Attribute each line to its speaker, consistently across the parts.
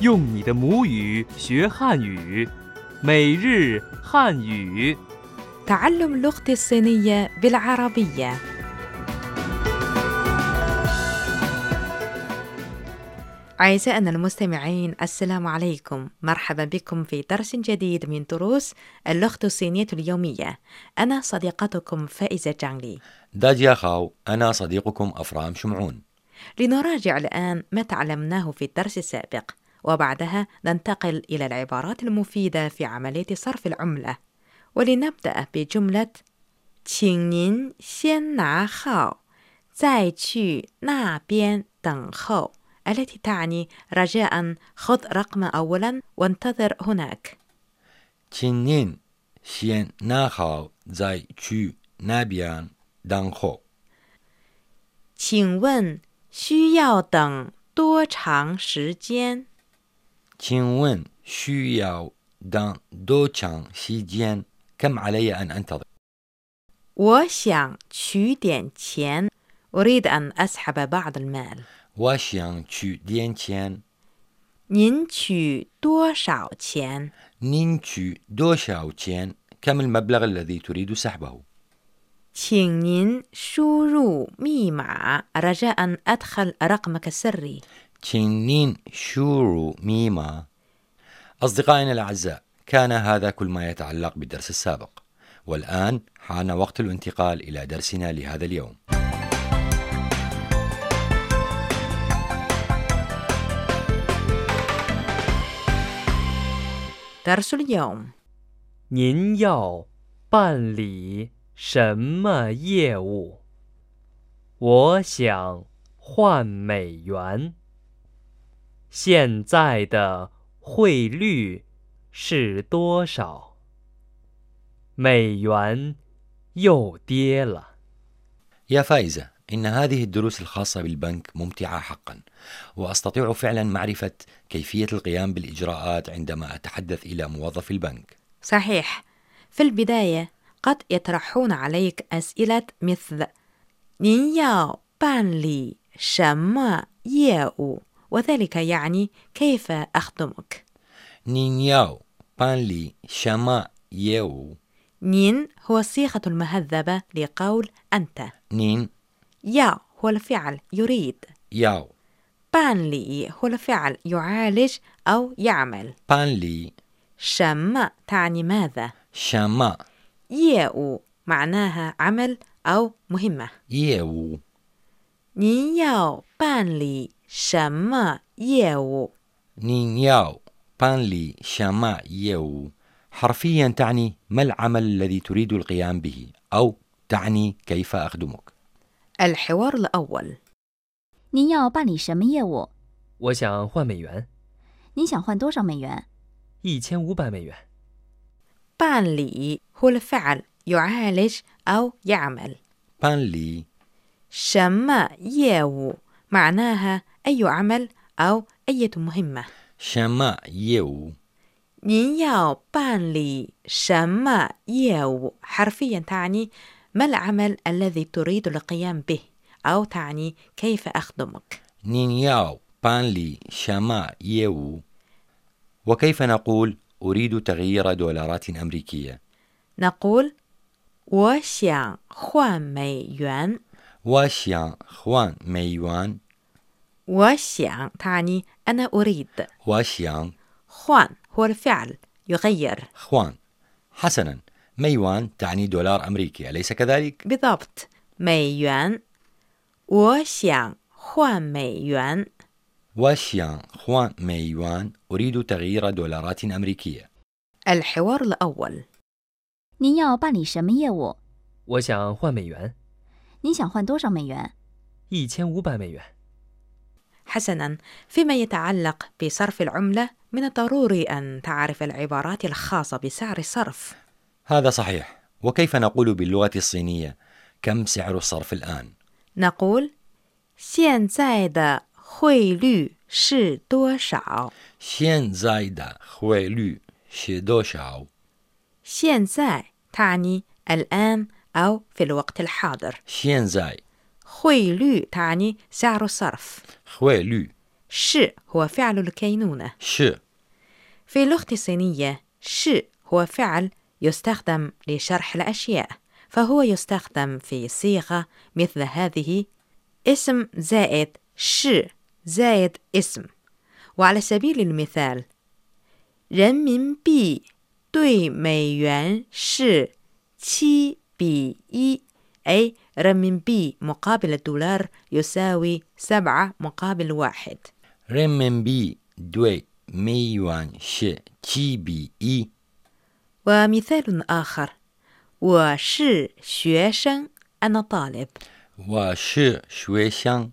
Speaker 1: 用你的母语学汉语，每日汉语。
Speaker 2: تعلم لغتي الصينية بالعربية أعزائنا المستمعين السلام عليكم مرحبا بكم في درس جديد من دروس اللغة الصينية اليومية أنا صديقتكم فائزة جانلي
Speaker 3: داديا خاو أنا صديقكم أفرام شمعون
Speaker 2: لنراجع الآن ما تعلمناه في الدرس السابق وبعدها ننتقل إلى العبارات المفيدة في عملية صرف العملة ولنبدأ بجملة 请您先拿号再去那边等候 التي تعني رجاء خذ رقم أولا وانتظر هناك
Speaker 3: 请您先拿好再去那边等候。
Speaker 2: 请问需要等多长时间？
Speaker 3: 请问需要等多长时间كم علي أن أنتظر؟
Speaker 2: 我想取点钱。أريد أن أسحب بعض المال.
Speaker 3: 我想去点钱。
Speaker 2: 您取多少钱？
Speaker 3: 您取多少钱 كم المبلغ الذي تريد سحبه؟
Speaker 2: 请您输入密码。رجاء أدخل رقمك السري.
Speaker 3: تشينين شورو ميما أصدقائنا الأعزاء كان هذا كل ما يتعلق بالدرس السابق والآن حان وقت الانتقال إلى درسنا لهذا اليوم
Speaker 2: درس اليوم
Speaker 1: 您要办理什么业务？我想换美元。现在的汇率是多少？美元又跌了。
Speaker 3: يا فائزة إن هذه الدروس الخاصة بالبنك ممتعة حقا وأستطيع فعلا معرفة كيفية القيام بالإجراءات عندما أتحدث إلى موظف البنك
Speaker 2: صحيح في البداية قد يطرحون عليك أسئلة مثل 您要办理什么业务 وذلك يعني كيف أخدمك
Speaker 3: نين ياو بان لي شما يو
Speaker 2: نين هو الصيغة المهذبة لقول أنت
Speaker 3: نين
Speaker 2: يا هو الفعل يريد
Speaker 3: ياو
Speaker 2: بان لي هو الفعل يعالج أو يعمل
Speaker 3: بان لي
Speaker 2: شم تعني ماذا
Speaker 3: شما
Speaker 2: يأو معناها عمل أو مهمة
Speaker 3: يو
Speaker 2: 您要办理什么业务？
Speaker 3: نين ياو بان لي شما يو حرفيا تعني ما العمل الذي تريد القيام به أو تعني كيف أخدمك
Speaker 2: الحوار الأول
Speaker 4: 您要办理什么业务？
Speaker 1: 我想换美元，
Speaker 4: 您想换多少美元？
Speaker 1: 一千五百美元。
Speaker 2: 办理 هو الفعل يعالج أو يعمل
Speaker 3: بان لي
Speaker 2: 什么业务 معناها أي عمل أو أي مهمة
Speaker 3: شما يو
Speaker 2: 您要办理什么业务 حرفيا تعني ما العمل الذي تريد القيام به أو تعني كيف أخدمك
Speaker 3: نين ياو بان لي شما يو وكيف نقول أريد تغيير دولارات أمريكية
Speaker 2: نقول 我想换美元
Speaker 3: واشيان خوان ميوان
Speaker 2: 我想 تعني أنا أريد
Speaker 3: واشيان
Speaker 2: خوان هو الفعل يغير
Speaker 3: خوان حسنا ميوان تعني دولار أمريكي أليس كذلك؟
Speaker 2: بالضبط ميوان 我想换美元
Speaker 3: واشيان خوان ميوان أريد تغيير دولارات أمريكية
Speaker 2: الحوار الأول
Speaker 4: 您要办理什么业务？
Speaker 1: 我想换美元，
Speaker 4: 您想换多少美元？
Speaker 1: 一千五百美元。
Speaker 2: حسنا فيما يتعلق بصرف العملة من الضروري أن تعرف العبارات الخاصة بسعر الصرف
Speaker 3: هذا صحيح وكيف نقول باللغة الصينية كم سعر الصرف الآن؟
Speaker 2: نقول 现在的汇率是多少
Speaker 3: شين زايدا خويلو شيدو شاو
Speaker 2: 现在 تعني الآن أو في الوقت الحاضر
Speaker 3: شين زاي
Speaker 2: خيلو تعني سعر الصرف
Speaker 3: خويلو
Speaker 2: 是هو فعل الكينونة
Speaker 3: ش
Speaker 2: في اللغة الصينية ش هو فعل يستخدم لشرح الأشياء فهو يستخدم في صيغة مثل هذه اسم زائد ش زائد اسم وعلى سبيل المثال 人民币对美元是七比一 أي رم من بي مقابل الدولار يساوي سبعة مقابل واحد
Speaker 3: renminbi dui miyuan shi qi bi yi
Speaker 2: ومثال آخر 我是学生 أنا طالب
Speaker 3: wa shi shui xiang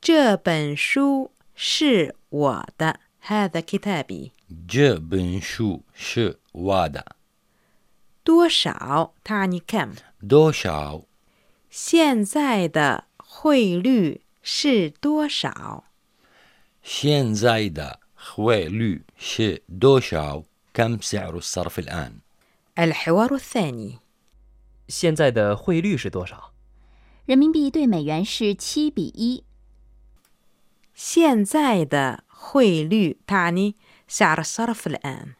Speaker 2: 这本书是我的 هذا كتابي
Speaker 3: ji bun shu shi wa da
Speaker 2: 多少 تعني كم
Speaker 3: do shao
Speaker 2: 现在的汇率是多少
Speaker 3: xian zai da hui lu shi do shao كم سعر الصرف الآن؟
Speaker 2: الحوار الثاني
Speaker 1: 现在的汇率是多少？
Speaker 4: 人民币对美元是七比一。
Speaker 2: 现在的汇率 تعني سعر الصرف الآن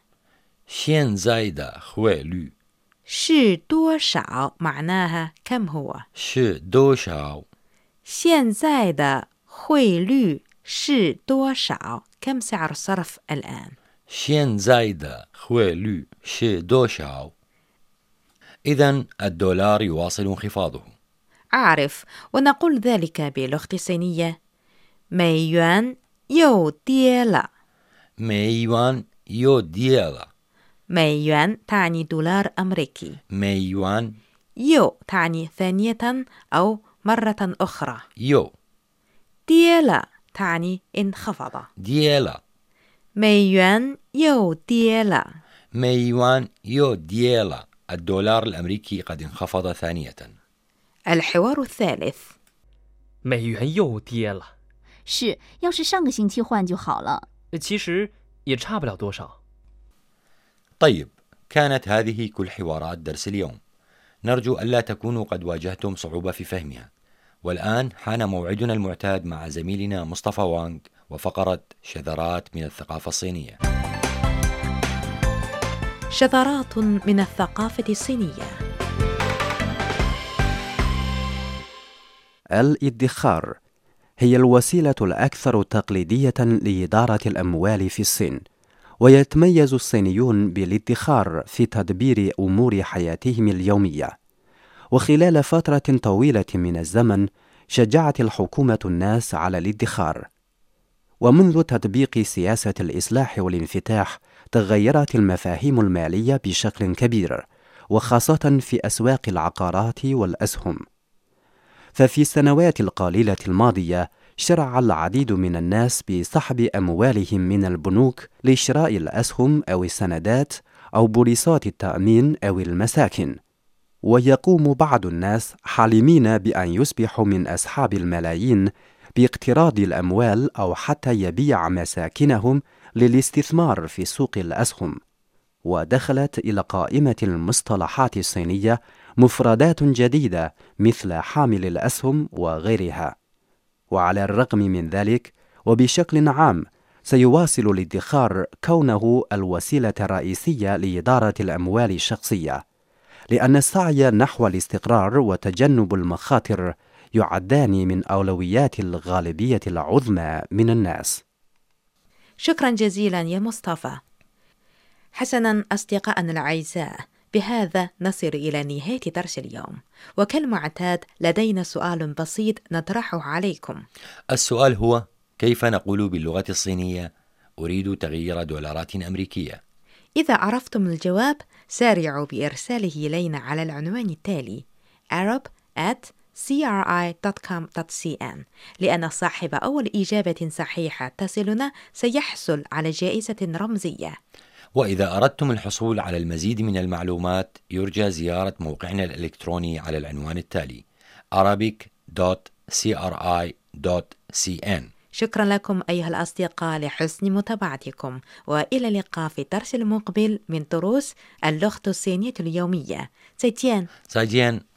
Speaker 3: 现在的汇率
Speaker 2: 是多少 معناها كم هو
Speaker 3: 是多少？
Speaker 2: 现在的汇率是多少 كم سعر الصرف الآن
Speaker 3: 现在的汇率是多少？إذا الدولار يواصل انخفاضه.
Speaker 2: أعرف ونقول ذلك بلغة الصينية ميوان يو ديلا
Speaker 3: ميوان يو ديالا
Speaker 2: ميوان تعني دولار أمريكي
Speaker 3: ميوان
Speaker 2: يو تعني ثانية أو مرة أخرى
Speaker 3: يو
Speaker 2: ديلا تعني انخفض
Speaker 3: ديالا
Speaker 2: ميوان يو ديلا
Speaker 3: ميوان يو ديالا الدولار الأمريكي قد انخفض ثانية.
Speaker 2: الحوار الثالث
Speaker 1: 美元又跌了，
Speaker 4: 是，要是上个星期换就好了。
Speaker 1: 其实也差不了多少。
Speaker 3: طيب كانت هذه كل حوارات درس اليوم نرجو ألا تكونوا قد واجهتم صعوبة في فهمها والآن حان موعدنا المعتاد مع زميلنا مصطفى وانغ وفقرة شذرات من الثقافة الصينية
Speaker 2: شذرات من الثقافة الصينية
Speaker 5: الادخار هي الوسيلة الأكثر تقليدية لإدارة الأموال في الصين، ويتميز الصينيون بالادخار في تدبير أمور حياتهم اليومية. وخلال فترة طويلة من الزمن، شجعت الحكومة الناس على الادخار. ومنذ تطبيق سياسة الإصلاح والانفتاح، تغيرت المفاهيم المالية بشكل كبير، وخاصة في أسواق العقارات والأسهم. ففي السنوات القليلة الماضية شرع العديد من الناس بسحب أموالهم من البنوك لشراء الأسهم أو السندات أو بوليصات التأمين أو المساكن ويقوم بعض الناس حالمين بأن يصبحوا من أصحاب الملايين باقتراض الأموال أو حتى يبيع مساكنهم للاستثمار في سوق الأسهم ودخلت إلى قائمة المصطلحات الصينية مفردات جديدة مثل حامل الأسهم وغيرها. وعلى الرغم من ذلك، وبشكل عام، سيواصل الادخار كونه الوسيلة الرئيسية لإدارة الأموال الشخصية، لأن السعي نحو الاستقرار وتجنب المخاطر يعدان من أولويات الغالبية العظمى من الناس.
Speaker 2: شكرا جزيلا يا مصطفى حسنا أصدقائنا الأعزاء بهذا نصل إلى نهاية درس اليوم وكالمعتاد لدينا سؤال بسيط نطرحه عليكم
Speaker 3: السؤال هو كيف نقول باللغة الصينية أريد تغيير دولارات أمريكية؟
Speaker 2: إذا عرفتم الجواب سارعوا بإرساله إلينا على العنوان التالي arab at cri.com.cn لأن صاحب أول إجابة صحيحة تصلنا سيحصل على جائزة رمزية
Speaker 3: وإذا أردتم الحصول على المزيد من المعلومات يرجى زيارة موقعنا الإلكتروني على العنوان التالي arabic.cri.cn
Speaker 2: شكرا لكم أيها الأصدقاء لحسن متابعتكم وإلى اللقاء في الدرس المقبل من دروس اللغة الصينية اليومية زيتيان
Speaker 3: ساجين